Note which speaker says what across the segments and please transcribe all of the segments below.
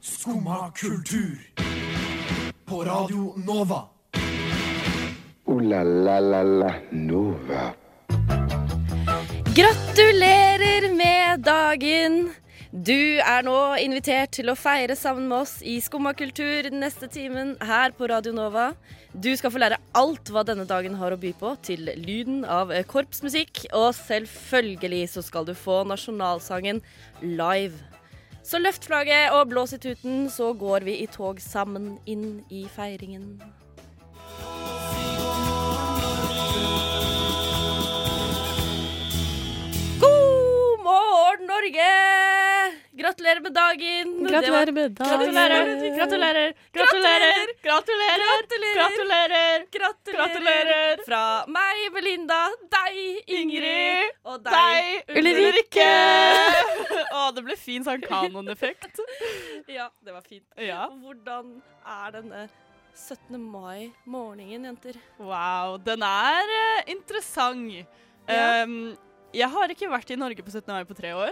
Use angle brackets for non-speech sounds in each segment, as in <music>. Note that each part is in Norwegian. Speaker 1: Skumma kultur. På Radio Nova.
Speaker 2: Ooh la la la la Nova.
Speaker 3: Gratulerer med dagen! Du er nå invitert til å feire sammen med oss i Skummakultur den neste timen her på Radio Nova. Du skal få lære alt hva denne dagen har å by på, til lyden av korpsmusikk. Og selvfølgelig så skal du få nasjonalsangen live. Så løft flagget og blås i tuten, så går vi i tog sammen inn i feiringen. God morgen, Norge! Gratulerer med dagen!
Speaker 4: Gratulerer med dagen.
Speaker 3: Gratulerer. Gratulerer. Gratulerer.
Speaker 4: Gratulerer.
Speaker 3: Gratulerer. Gratulerer.
Speaker 4: Gratulerer.
Speaker 3: Fra meg, Belinda, deg, Ingrid, og deg,
Speaker 4: Deg,
Speaker 3: Ulrikke.
Speaker 4: Ulrikke! <laughs> Å, det ble fin sånn kanoneffekt.
Speaker 3: Ja, det var fint.
Speaker 4: Ja.
Speaker 3: Hvordan er denne 17. mai-morgenen, jenter?
Speaker 4: Wow, den er eh, interessant.
Speaker 3: Ja.
Speaker 4: Um, jeg har ikke vært i Norge på 17. mai på tre år,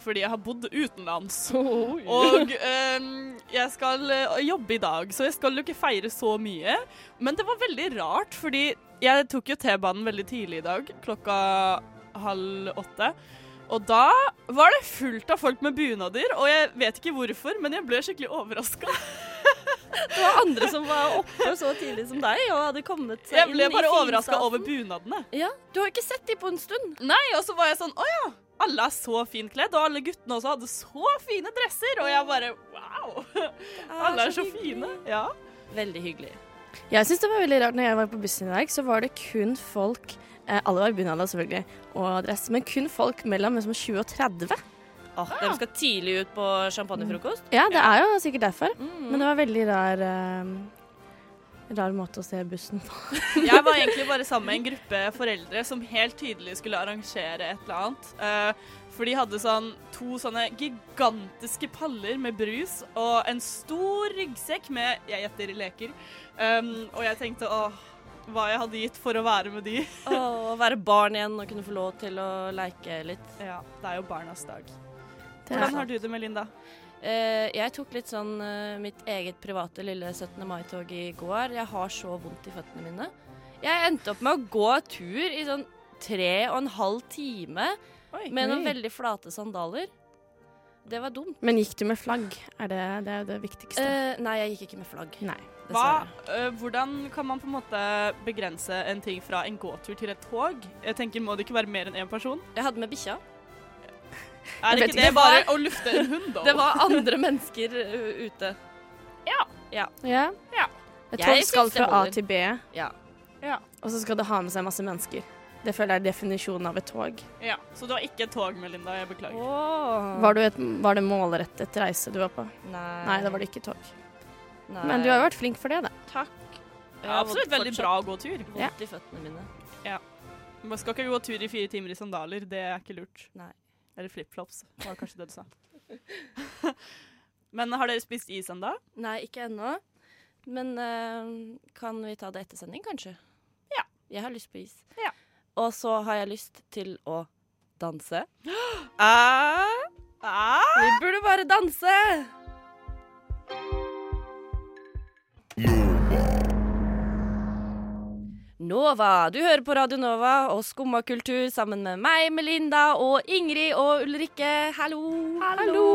Speaker 4: fordi jeg har bodd utenlands.
Speaker 3: <laughs>
Speaker 4: Og um, jeg skal eh, jobbe i dag, så jeg skal jo ikke feire så mye. Men det var veldig rart, fordi jeg tok jo T-banen veldig tidlig i dag, klokka halv åtte. Og da var det fullt av folk med bunader, og jeg vet ikke hvorfor, men jeg ble skikkelig overraska.
Speaker 3: Det var andre som var oppe så tidlig som deg og hadde kommet seg
Speaker 4: Jeg
Speaker 3: inn
Speaker 4: ble bare
Speaker 3: i
Speaker 4: overraska
Speaker 3: finstasen.
Speaker 4: over bunadene.
Speaker 3: Ja, Du har ikke sett de på en stund.
Speaker 4: Nei, og så var jeg sånn, å ja, alle er så fint kledd, og alle guttene også hadde så fine dresser, og jeg bare, wow, <laughs>
Speaker 3: Det
Speaker 4: alle er så
Speaker 3: hyggelig.
Speaker 4: fine. Ja.
Speaker 3: Veldig hyggelig.
Speaker 5: Jeg syns det var veldig rart når jeg var på bussen i dag, så var det kun folk eh, Alle var i bunad da, selvfølgelig, og dress, men kun folk mellom liksom, 20 og 30.
Speaker 3: Åh, De skal tidlig ut på champagnefrokost.
Speaker 5: Ja, det er jo sikkert derfor.
Speaker 3: Mm.
Speaker 5: Men det var veldig rar eh, Rar måte å se bussen på.
Speaker 4: <laughs> Jeg var egentlig bare sammen med en gruppe foreldre som helt tydelig skulle arrangere et eller annet. Eh, For de hadde sånn to sånne gigantiske paller med brus og en stor ryggsekk med jeg gjetter leker. Um, og jeg tenkte åh, hva jeg hadde gitt for å være med de.
Speaker 3: Og å være barn igjen og kunne få lov til å leke litt.
Speaker 4: Ja, det er jo barnas dag.
Speaker 5: Det er
Speaker 4: Hvordan har du det, Melinda?
Speaker 3: Eh, jeg tok litt sånn eh, mitt eget private lille 17. mai-tog i går. Jeg har så vondt i føttene mine. Jeg endte opp med å gå tur i sånn tre og en halv time
Speaker 4: Oi.
Speaker 3: med noen
Speaker 5: Oi.
Speaker 3: veldig flate sandaler. Det var dumt.
Speaker 5: Men gikk du med flagg? Er det, det er jo det viktigste.
Speaker 3: Eh, nei, jeg gikk ikke med flagg.
Speaker 5: Nei.
Speaker 4: Hva,
Speaker 3: Dessverre.
Speaker 4: eh, hvordan kan man på en måte begrense en ting fra en gåtur til et tog? Jeg tenker, Må det ikke være mer enn én person?
Speaker 3: Jeg hadde med bikkja.
Speaker 4: Er
Speaker 5: vet
Speaker 4: ikke
Speaker 5: ikke.
Speaker 4: det bare å lufte en hund, da?
Speaker 3: <laughs> Det var andre mennesker ø, ute.
Speaker 5: Ja.
Speaker 4: Ja.
Speaker 5: Et
Speaker 3: Jeg
Speaker 5: tog
Speaker 3: syns
Speaker 5: skal
Speaker 3: det
Speaker 5: fra A
Speaker 3: holder.
Speaker 5: til B,
Speaker 3: Ja.
Speaker 5: og så skal det ha med seg masse mennesker. Det føler jeg er definisjonen av et tog.
Speaker 4: Ja, Så det var ikke et tog, Melinda. Jeg beklager.
Speaker 5: Var, du et, var det målrettet reise du var på?
Speaker 3: Nei.
Speaker 5: Nei, da var det ikke tog. Men du har jo vært flink for det, da.
Speaker 3: Takk. Jeg
Speaker 4: Ja,
Speaker 3: har
Speaker 4: absolutt
Speaker 3: vondt
Speaker 4: veldig
Speaker 3: fortsatt.
Speaker 4: bra å gå tur.
Speaker 5: Ja.
Speaker 3: Vondt i føttene mine.
Speaker 4: Man skal ikke gå tur i fire timer i sandaler. Det er ikke lurt.
Speaker 3: Nei.
Speaker 4: Eller flipflops, var kanskje det du sa. <laughs> Men har dere spist is ennå?
Speaker 3: Nei, ikke ennå. Men eh, kan vi ta det etter sending, kanskje?
Speaker 4: Ja.
Speaker 3: Jeg har lyst på is.
Speaker 4: Ja.
Speaker 3: Og så har jeg lyst til å danse.
Speaker 4: Eh, eh.
Speaker 3: Vi burde bare danse! Nova, du hører på Radio Nova og Skumma kultur sammen med meg, Melinda og Ingrid og Ulrikke. Hallo! Hallo!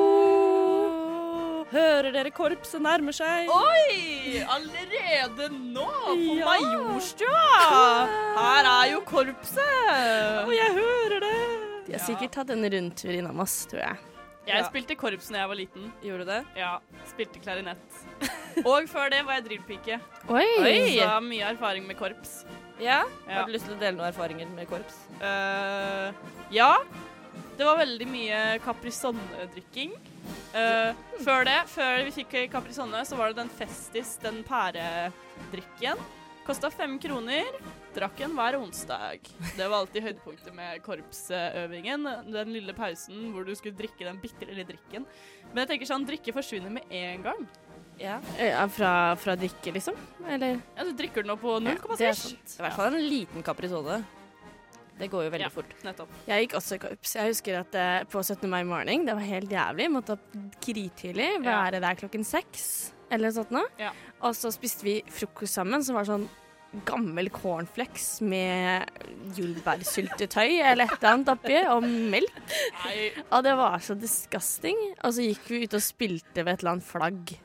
Speaker 3: Hører dere korpset nærmer seg?
Speaker 4: Oi! Allerede nå, på
Speaker 3: Ja.
Speaker 4: Majorstua! Her er jo korpset! Og jeg hører det!
Speaker 5: De har sikkert tatt en rundtur innom oss, tror jeg.
Speaker 4: Jeg
Speaker 3: Ja.
Speaker 4: spilte korps da jeg var liten.
Speaker 3: Gjorde du det?
Speaker 4: Ja, Spilte klarinett. Og før det var jeg drillpike.
Speaker 5: Oi!
Speaker 4: Så
Speaker 3: Oi!
Speaker 4: jeg har mye erfaring med korps.
Speaker 3: Ja?
Speaker 4: Ja.
Speaker 3: Har du lyst til å dele noen erfaringer med korps?
Speaker 4: Eh, ja, det var veldig mye Caprisonne-drikking. Eh, før det, før vi fikk Caprisonne, så var det den Festis, den pæredrikken. Kosta fem kroner. Drakk en hver onsdag. Det var alltid høydepunktet med korpsøvingen. Den lille pausen hvor du skulle drikke den bitte lille drikken. Men jeg tenker sånn, drikke forsvinner med en gang.
Speaker 3: Ja.
Speaker 5: Eh, Ja, fra, fra drikke, liksom? Eller
Speaker 4: Ja, du drikker den opp på
Speaker 5: Ja, det
Speaker 4: 0,6.
Speaker 5: er sant.
Speaker 3: I hvert fall en liten kaprisone. Det går jo veldig
Speaker 4: Ja.
Speaker 3: fort.
Speaker 4: Nettopp.
Speaker 5: Jeg gikk også i korps. Jeg husker at eh, på 17. mai morgen, det var helt jævlig. Måtte opp grytidlig,
Speaker 4: Ja.
Speaker 5: være der klokken seks eller noe sånt. nå.
Speaker 4: Ja.
Speaker 5: Og så spiste vi frokost sammen, som var sånn gammel cornflakes med jordbærsyltetøy eller et eller annet oppi, og melk.
Speaker 4: Nei.
Speaker 5: Og det var så disgusting. Og så gikk vi ut og spilte ved et eller annet flagg.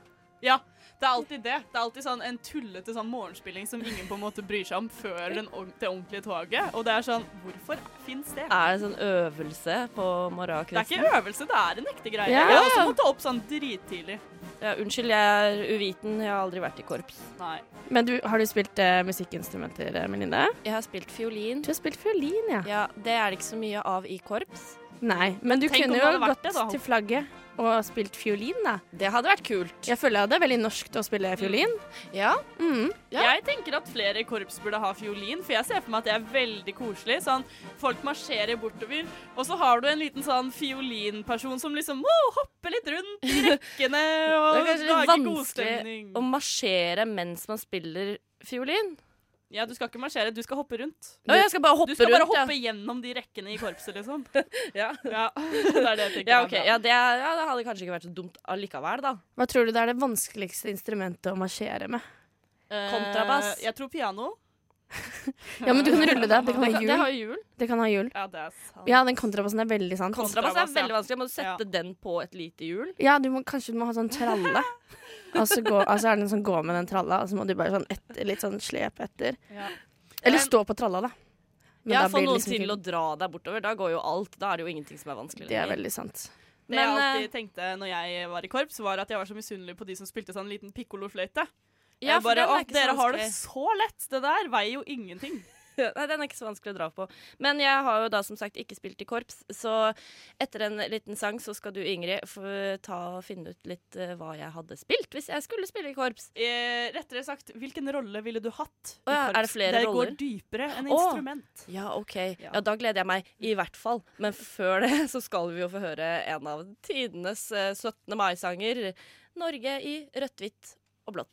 Speaker 4: Ja, det er alltid det. Det er alltid sånn en tullete sånn morgenspilling som ingen på en måte bryr seg om før den, ord- det ordentlige toget. Og det er sånn Hvorfor fins det?
Speaker 3: Er det sånn øvelse på
Speaker 4: Det er
Speaker 3: morgenkvisten?
Speaker 4: ikke øvelse, det er en ekte greie.
Speaker 5: Ja.
Speaker 4: Jeg har også måtte opp sånn drittidlig.
Speaker 3: Ja, unnskyld, jeg er uviten. Jeg har aldri vært i korps.
Speaker 4: Nei.
Speaker 5: Men du, har du spilt eh, musikkinstrumenter, Melinda?
Speaker 3: Jeg har spilt fiolin.
Speaker 5: Du har spilt fiolin, ja.
Speaker 3: Ja, Det er det ikke så mye av i korps.
Speaker 5: Nei, men du
Speaker 4: Tenk om
Speaker 5: kunne
Speaker 4: det
Speaker 5: jo
Speaker 4: hadde vært
Speaker 5: gått
Speaker 4: det, da.
Speaker 5: til flagget og spilt fiolin, da.
Speaker 3: Det hadde vært kult.
Speaker 5: Jeg føler det er veldig norsk å spille fiolin.
Speaker 3: Ja. Ja.
Speaker 4: Jeg tenker at flere korps burde ha fiolin, for jeg ser for meg at det er veldig koselig. Sånn, folk marsjerer bortover, og så har du en liten sånn fiolinperson som liksom må hoppe litt rundt i rekkene og
Speaker 3: Det er kanskje litt
Speaker 4: lage god
Speaker 3: vanskelig
Speaker 4: stemning.
Speaker 3: å marsjere mens man spiller fiolin.
Speaker 4: Ja, du skal ikke marsjere, du skal hoppe rundt.
Speaker 3: Å, jeg skal bare hoppe
Speaker 4: Du skal bare
Speaker 3: rundt, ja.
Speaker 4: hoppe gjennom de rekkene i korpset, liksom.
Speaker 3: <laughs> Ja.
Speaker 4: Ja, <laughs> det er det jeg tenker.
Speaker 3: Ja,
Speaker 4: er
Speaker 3: ok.
Speaker 4: bra.
Speaker 3: Ja, det, er- ja, det hadde kanskje ikke vært så dumt allikevel, da.
Speaker 5: Hva tror du det er det vanskeligste instrumentet å marsjere med?
Speaker 3: Kontrabass.
Speaker 4: Eh, Jeg tror piano.
Speaker 5: Ja, men du kan rulle det.
Speaker 3: <laughs>
Speaker 5: Det kan
Speaker 3: Det,
Speaker 5: ha
Speaker 3: kan- det har
Speaker 5: hjul.
Speaker 3: jo hjul.
Speaker 5: Det kan ha hjul.
Speaker 4: Ja, det er sant.
Speaker 5: Ja, den kontrabassen er veldig sant.
Speaker 3: Kontrabass er
Speaker 4: Kontrabass, ja.
Speaker 3: veldig vanskelig. Må du sette den på et lite hjul?
Speaker 5: Ja, du må, kanskje du må ha sånn tralle. Og så gå, altså er det en som går med den tralla, og så må du bare sånn etter, litt sånn slep etter.
Speaker 4: Ja.
Speaker 5: Eller stå på tralla, da. Men
Speaker 3: ja,
Speaker 5: da
Speaker 3: få
Speaker 5: blir det
Speaker 3: noen
Speaker 5: liksom
Speaker 3: til
Speaker 5: ikke-
Speaker 3: å dra deg bortover. Da går jo alt. Da er det jo ingenting som er vanskelig
Speaker 5: Det er
Speaker 3: lenger.
Speaker 5: veldig sant.
Speaker 4: Det jeg
Speaker 3: Men, eh,
Speaker 4: alltid tenkte når jeg var i korps, var at jeg var så misunnelig på de som spilte sånn liten pikkolofløyte.
Speaker 3: Ja,
Speaker 4: Jeg
Speaker 3: for
Speaker 4: bare,
Speaker 3: den er
Speaker 4: «Å,
Speaker 3: ikke så
Speaker 4: dere har det
Speaker 3: vanskelig.
Speaker 4: så lett! Det der veier jo ingenting.
Speaker 3: <laughs> Nei, den er ikke så vanskelig å dra på. Men jeg har jo da som sagt ikke spilt i korps, så etter en liten sang så skal du, Ingrid, få ta og finne ut litt eh, hva jeg hadde spilt hvis jeg skulle spille i korps.
Speaker 4: Eh, rettere sagt, hvilken rolle ville du hatt? i
Speaker 3: Å ja, er det
Speaker 4: korps?
Speaker 3: flere
Speaker 4: det
Speaker 3: roller?
Speaker 4: går dypere enn
Speaker 3: Å.
Speaker 4: instrument.
Speaker 3: Ja, OK.
Speaker 4: Ja.
Speaker 3: Ja, da gleder jeg meg. I hvert fall. Men før det <laughs> så skal vi jo få høre en av tidenes eh, 17. mai-sanger. 'Norge i rødt, hvitt og blått'.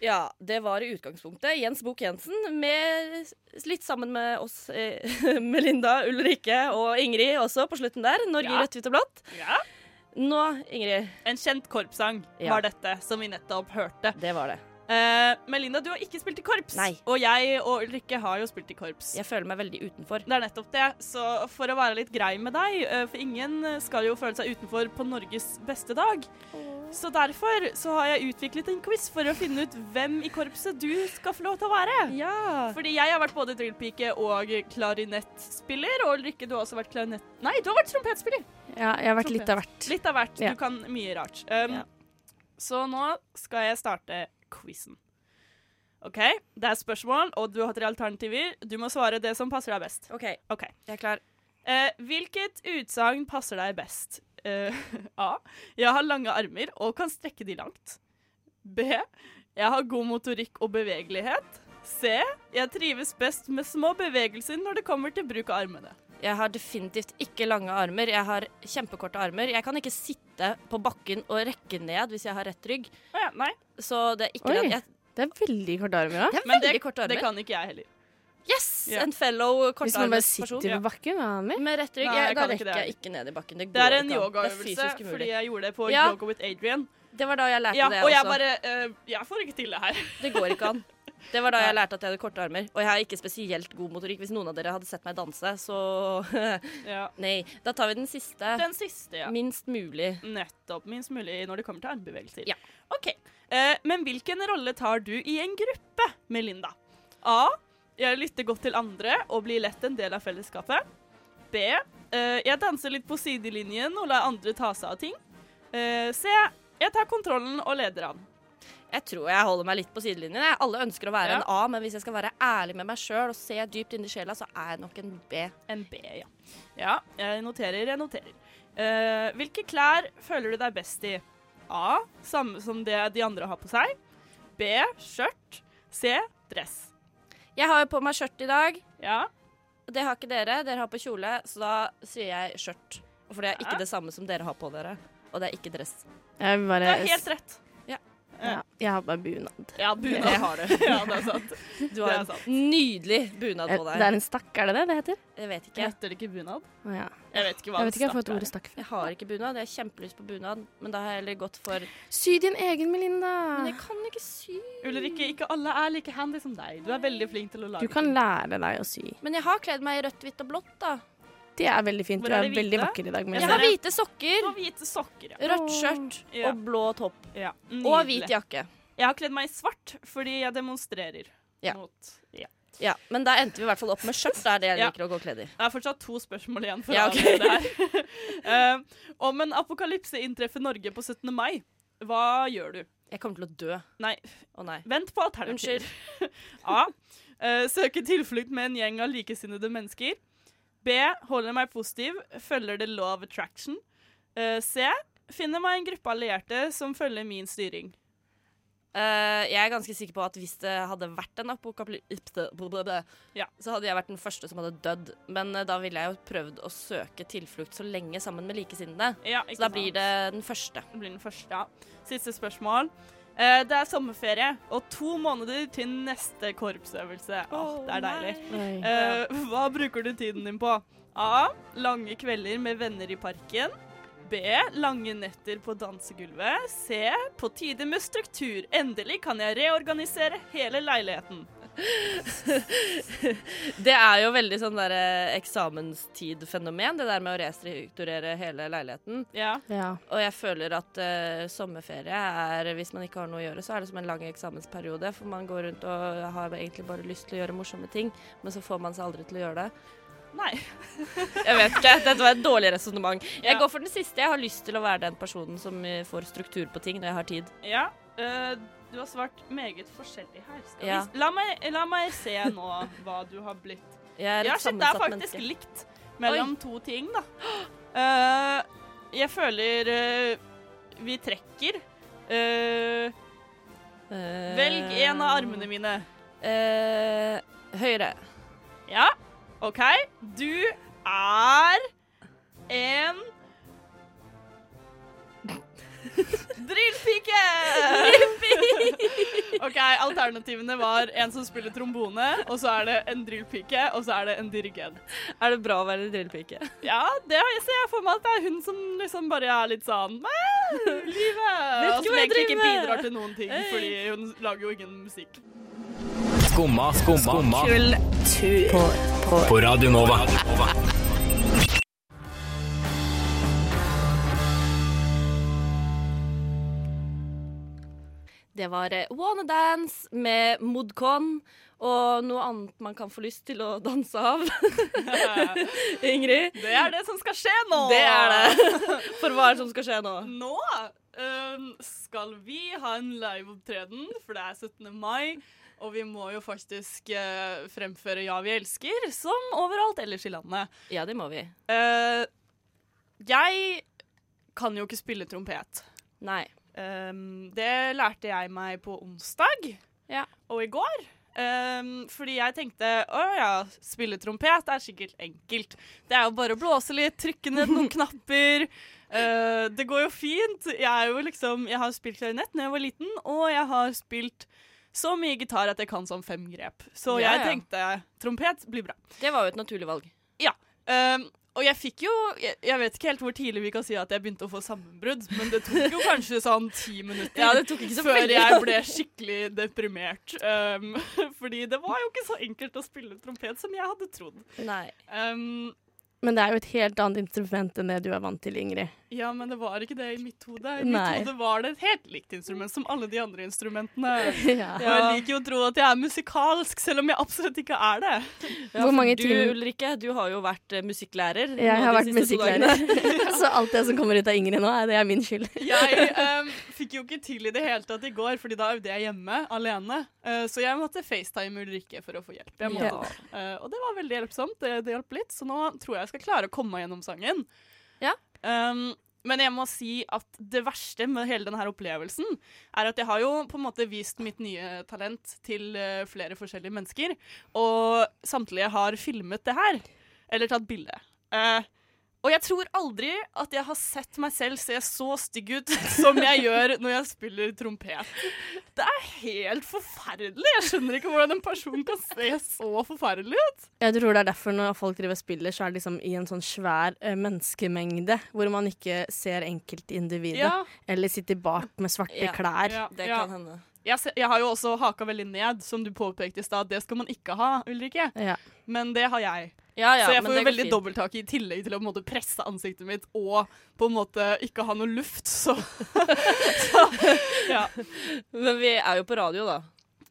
Speaker 3: Ja, det var i utgangspunktet Jens Bukk Jensen, med, litt sammen med oss, eh, <laughs> Melinda, Ulrikke og Ingrid også på slutten der. Norge i
Speaker 4: Ja.
Speaker 3: rødt, hvitt og blått.
Speaker 4: Ja.
Speaker 3: Nå, Ingrid.
Speaker 4: En kjent korpssang
Speaker 3: Ja.
Speaker 4: var dette, som vi nettopp hørte.
Speaker 3: Det var det.
Speaker 4: Eh, Melinda, du har ikke spilt i korps.
Speaker 3: Nei.
Speaker 4: Og jeg og Ulrikke har jo spilt i korps.
Speaker 3: Jeg føler meg veldig utenfor.
Speaker 4: Det er nettopp det. Så for å være litt grei med deg, eh, for ingen skal jo føle seg utenfor på Norges beste dag. Så derfor så har jeg utviklet en quiz for å finne ut hvem i korpset du skal få lov til å være.
Speaker 3: Ja.
Speaker 4: Fordi jeg har vært både drillpike og klarinettspiller, og Ulrikke, du har også vært klarinett... Nei, du har vært trompettspiller!
Speaker 5: Ja, jeg har vært litt av hvert.
Speaker 4: Litt av hvert.
Speaker 5: Ja.
Speaker 4: Du kan mye rart. Um,
Speaker 3: Ja.
Speaker 4: Så nå skal jeg starte quizen. OK, det er spørsmål, og du har tre alternativer. Du må svare det som passer deg best.
Speaker 3: OK,
Speaker 4: OK.
Speaker 3: jeg er klar.
Speaker 4: Eh, hvilket utsagn passer deg best? Eh, <laughs> A. Jeg har lange armer og kan strekke de langt. B. Jeg har god motorikk og bevegelighet. C. Jeg trives best med små bevegelser når det kommer til bruk av armene.
Speaker 3: Jeg har definitivt ikke lange armer. Jeg har kjempekorte armer. Jeg kan ikke sitte på bakken og rekke ned hvis jeg har rett rygg.
Speaker 4: Å ja, nei.
Speaker 3: Så det er ikke
Speaker 5: Oi.
Speaker 3: den jeg,
Speaker 5: Det er veldig korte armer òg.
Speaker 3: Det er
Speaker 4: Men
Speaker 3: veldig
Speaker 4: det,
Speaker 3: korte
Speaker 4: det
Speaker 3: armer.
Speaker 4: kan ikke jeg heller.
Speaker 3: Yes!
Speaker 4: Ja.
Speaker 3: En fellow
Speaker 5: Hvis man bare
Speaker 3: kortarmet person.
Speaker 5: sitter
Speaker 4: ja.
Speaker 5: på bakken, hva annet?
Speaker 3: Med rett rygg.
Speaker 4: Nei,
Speaker 3: jeg,
Speaker 4: jeg
Speaker 3: da
Speaker 4: kan ikke
Speaker 3: rekker
Speaker 4: det.
Speaker 3: jeg ikke ned i bakken. Det,
Speaker 4: Det
Speaker 3: går
Speaker 4: er en
Speaker 3: ikke an. Det er
Speaker 4: yogaøvelse
Speaker 3: fysisk
Speaker 4: fordi
Speaker 3: umulig.
Speaker 4: jeg gjorde det på
Speaker 3: Ja.
Speaker 4: Yoga with Adrian.
Speaker 3: Det var da jeg lærte
Speaker 4: Ja,
Speaker 3: det
Speaker 4: og jeg
Speaker 3: også.
Speaker 4: bare eh, Jeg får ikke til det her.
Speaker 3: Det går ikke an. Det var da jeg
Speaker 4: Nei.
Speaker 3: lærte at jeg hadde korte armer. Og jeg har ikke spesielt god motorikk. Hvis noen av dere hadde sett meg danse, så <laughs>
Speaker 4: Ja.
Speaker 3: Nei. Da tar vi den siste.
Speaker 4: Den siste, ja.
Speaker 3: Minst mulig.
Speaker 4: Nettopp. Minst mulig når det kommer til armbevegelser.
Speaker 3: Ja.
Speaker 4: Ok, eh, Men hvilken rolle tar du i en gruppe, Melinda? A. Jeg lytter godt til andre og blir lett en del av fellesskapet. B. Eh, jeg danser litt på sidelinjen og lar andre ta seg av ting. Eh, C. Jeg tar kontrollen og leder an.
Speaker 3: Jeg tror jeg holder meg litt på sidelinjen. Jeg. Alle ønsker å være
Speaker 4: Ja.
Speaker 3: en A, men hvis jeg skal være ærlig med meg sjøl og se dypt inn i sjela, så er jeg nok en B.
Speaker 4: En B, ja. Ja, jeg noterer, jeg noterer. Eh, hvilke klær føler du deg best i? A. Samme som det de andre har på seg. B. Skjørt. C. Dress.
Speaker 3: Jeg har jo på meg skjørt i dag.
Speaker 4: Ja.
Speaker 3: Det har ikke dere. Dere har på kjole, så da sier jeg skjørt. For det er ikke det samme som dere har på dere. Og det er ikke dress.
Speaker 5: Jeg, vil
Speaker 4: Du
Speaker 5: bare,
Speaker 4: har helt rett.
Speaker 5: ja, jeg har bare bunad.
Speaker 4: <laughs> Ja, bunad har du. <laughs> ja, det er sant.
Speaker 3: Du
Speaker 4: Det
Speaker 3: har
Speaker 4: er
Speaker 3: en
Speaker 4: sant.
Speaker 3: nydelig bunad
Speaker 5: Eh,
Speaker 3: på
Speaker 5: Det er
Speaker 3: deg.
Speaker 5: en stakk, er det det det heter?
Speaker 3: Jeg vet ikke.
Speaker 4: Heter det ikke bunad?
Speaker 5: Å, ja.
Speaker 4: Jeg vet ikke hva
Speaker 5: Jeg vet ikke, jeg
Speaker 4: en
Speaker 5: har fått
Speaker 4: stakk
Speaker 5: ordet stakk fra.
Speaker 3: Jeg har ikke bunad. Jeg har kjempelyst på bunad, men da har jeg heller gått for
Speaker 5: Sy din egen, Melinda.
Speaker 3: Men jeg kan ikke sy.
Speaker 4: er. Ulrikke, ikke alle er like handy som deg. Du er veldig flink til å lage
Speaker 5: Du kan lære deg å sy.
Speaker 3: Men jeg har kledd meg i rødt, hvitt og blått, da.
Speaker 5: Det er veldig fint.
Speaker 4: Hvor
Speaker 5: Du
Speaker 4: er
Speaker 5: er
Speaker 4: det
Speaker 5: veldig
Speaker 4: hvite?
Speaker 5: vakker i dag,
Speaker 3: Jeg
Speaker 4: Jeg
Speaker 5: Melinda.
Speaker 3: har
Speaker 4: ser det.
Speaker 3: hvite sokker,
Speaker 4: Og hvite sokker, ja.
Speaker 3: rødt skjørt
Speaker 4: Ja.
Speaker 3: og blå topp.
Speaker 4: ja.
Speaker 3: Og hvit
Speaker 4: nydelig.
Speaker 3: jakke.
Speaker 4: Jeg har kledd meg i svart fordi jeg demonstrerer
Speaker 3: Ja.
Speaker 4: mot ja.
Speaker 3: Ja, Men da endte vi i hvert fall opp med skjørt. Det er det jeg
Speaker 4: Ja.
Speaker 3: liker å gå kledd i.
Speaker 4: Jeg har fortsatt to spørsmål igjen for
Speaker 3: Ja,
Speaker 4: å
Speaker 3: ok.
Speaker 4: avgjøre det her. um, om en apokalypse inntreffer Norge på 17. mai, hva gjør du?
Speaker 3: Jeg kommer til å dø.
Speaker 4: Nei,
Speaker 3: Å nei.
Speaker 4: vent på alternativer. <laughs> A. Eh, søke tilflukt med en gjeng av likesinnede mennesker. B. Holder meg positiv, følger the law of attraction. Eh, C. Finner meg en gruppe allierte som følger min styring.
Speaker 3: Eh, jeg er ganske sikker på at hvis det hadde vært en apokalypse, blablabla,
Speaker 4: Ja.
Speaker 3: så hadde jeg vært den første som hadde dødd. Men eh, da ville jeg jo prøvd å søke tilflukt så lenge sammen med likesinnede.
Speaker 4: Ja, ikke
Speaker 3: Så da
Speaker 4: sant?
Speaker 3: blir det den første.
Speaker 4: Det blir den første, ja. Siste spørsmål. Eh, det er sommerferie og to måneder til neste korpsøvelse. Åh, det er deilig.
Speaker 5: Oi.
Speaker 4: Eh, hva bruker du tiden din på? A. Lange kvelder med venner i parken. B. Lange netter på dansegulvet. C. På tide med struktur. Endelig kan jeg reorganisere hele leiligheten.
Speaker 3: Det er jo veldig sånn der eh, eksamenstidfenomen, det der med å restrukturere hele leiligheten.
Speaker 4: Ja.
Speaker 5: Ja.
Speaker 3: Og jeg føler at eh, sommerferie er Hvis man ikke har noe å gjøre, så er det som en lang eksamensperiode. For man går rundt og har egentlig bare lyst til å gjøre morsomme ting, men så får man seg aldri til å gjøre det.
Speaker 4: Nei.
Speaker 3: Jeg vet ikke. Dette var et dårlig resonnement. Jeg
Speaker 4: Ja.
Speaker 3: går for den siste. Jeg har lyst til å være den personen som eh, får struktur på ting når jeg har tid.
Speaker 4: Ja. eh, du har svart meget forskjellig her. Skal vi
Speaker 3: Ja.
Speaker 4: s- la, meg, la meg se nå hva du har blitt.
Speaker 3: Jeg er et
Speaker 4: Ja, shit, det er
Speaker 3: sammensatt
Speaker 4: faktisk
Speaker 3: menneske.
Speaker 4: likt mellom to ting, da. Eh, jeg føler eh, vi trekker. Eh,
Speaker 3: Eh,
Speaker 4: velg en av armene mine.
Speaker 3: eh, høyre.
Speaker 4: Ja, OK. Du er en
Speaker 3: <laughs>
Speaker 4: Drillpike! OK, alternativene var en som spiller trombone, og så er det en drillpike, og så er det en dirigent.
Speaker 3: Er det bra å være drillpike?
Speaker 4: Ja, det har jeg ser jeg for meg at det er hun som liksom bare er litt sånn «Mæ,
Speaker 3: <laughs>
Speaker 4: Livet! Og
Speaker 3: ikke
Speaker 4: som
Speaker 3: hva jeg
Speaker 4: egentlig ikke
Speaker 3: driver med.
Speaker 4: bidrar til noen ting, fordi hun lager jo ingen musikk.
Speaker 6: Skumma, skumma, skumma.
Speaker 5: På
Speaker 6: På Radio Nova.
Speaker 3: Det var eh, Wanna Dance med Modcon og noe annet man kan få lyst til å <laughs> danse av. Ingrid,
Speaker 4: Det er det som skal skje nå!
Speaker 3: det er det. For hva er det som skal skje nå?
Speaker 4: <laughs> Nå øhm, skal vi ha en liveopptreden, for det er 17. mai. Og vi må jo faktisk øh, fremføre Ja, vi elsker, som overalt ellers i landet.
Speaker 3: Ja, det må vi.
Speaker 4: Eh, jeg kan jo ikke spille trompet.
Speaker 3: Nei.
Speaker 4: Um, det lærte jeg meg på onsdag
Speaker 3: Ja.
Speaker 4: og i går. Um, fordi jeg tenkte å ja, spille trompet er sikkert enkelt. Det er jo bare å blåse litt, trykke ned
Speaker 3: <laughs>
Speaker 4: noen knapper. Uh, det går jo fint. Jeg, er jo liksom, jeg har spilt klarinett da jeg var liten, og jeg har spilt så mye gitar at jeg kan sånn fem grep. Så
Speaker 3: Ja,
Speaker 4: jeg
Speaker 3: ja.
Speaker 4: tenkte trompet blir bra.
Speaker 3: Det var jo et naturlig valg.
Speaker 4: Um, og jeg fikk jo jeg, jeg vet ikke helt hvor tidlig vi kan si at jeg begynte å få sammenbrudd, men det tok jo kanskje sånn ti minutter
Speaker 3: Ja, det tok ikke så
Speaker 4: før
Speaker 3: veldig
Speaker 4: jeg ble skikkelig deprimert. Um, <laughs> fordi det var jo ikke så enkelt å spille trompet som jeg hadde trodd.
Speaker 3: Nei.
Speaker 4: Um,
Speaker 5: Men det er jo et helt annet instrument enn det du er vant til, Ingrid.
Speaker 4: ja, men det var ikke det i mitt hode. I
Speaker 5: Nei.
Speaker 4: mitt hode var det et helt likt instrument som alle de andre instrumentene.
Speaker 3: <laughs>
Speaker 4: Og
Speaker 5: Ja.
Speaker 4: jeg liker jo å tro at jeg er musikalsk, selv om jeg absolutt ikke er det.
Speaker 3: Ja,
Speaker 5: Hvor
Speaker 3: for
Speaker 5: mange
Speaker 3: du,
Speaker 5: timer-
Speaker 3: Ulrikke, du har jo vært eh, musikklærer. nå
Speaker 5: Jeg har
Speaker 3: de
Speaker 5: vært
Speaker 3: siste to dagene.
Speaker 5: musikklærer, <laughs> så alt det som kommer ut av Ingrid nå, er- det er min skyld.
Speaker 4: Jeg ehm, fikk jo ikke til i det hele tatt i går, fordi da øvde jeg hjemme alene. Eh, så jeg måtte facetime Ulrikke for å få hjelp. Jeg måtte,
Speaker 5: Ja.
Speaker 4: Eh, og det var veldig hjelpsomt. Det, det hjalp litt, så nå tror jeg jeg skal klare å komme meg gjennom sangen.
Speaker 3: Ja.
Speaker 4: Ehm, men jeg må si at det verste med hele denne her opplevelsen er at jeg har jo på en måte vist mitt nye talent til eh, flere forskjellige mennesker, og samtlige har filmet det her. Eller tatt bilde. Eh, Og jeg tror aldri at jeg har sett meg selv se så stygg ut <laughs> som jeg gjør når jeg spiller trompet. Det er helt forferdelig. Jeg skjønner ikke hvordan en person kan se så forferdelig ut.
Speaker 5: Jeg tror det er derfor når folk driver og spiller, så er det liksom i en sånn svær eh, menneskemengde, hvor man ikke ser enkeltindividet.
Speaker 4: Ja.
Speaker 5: Eller sitter bak med svarte
Speaker 3: Ja.
Speaker 5: klær.
Speaker 4: Ja,
Speaker 3: <laughs> Det
Speaker 4: ja.
Speaker 3: kan hende.
Speaker 4: Jeg, se, jeg har jo også haka veldig ned, som du påpekte i stad. Det skal man ikke ha, Ulrikke.
Speaker 5: Ja.
Speaker 4: Men det har jeg.
Speaker 3: Ja, ja,
Speaker 4: så jeg
Speaker 3: men
Speaker 4: får
Speaker 3: det
Speaker 4: jo
Speaker 3: går
Speaker 4: veldig
Speaker 3: fint.
Speaker 4: dobbelttak i tillegg til å på en måte presse ansiktet mitt og på en måte ikke ha noe luft. Så, så ja.
Speaker 3: Men vi er jo på radio, da.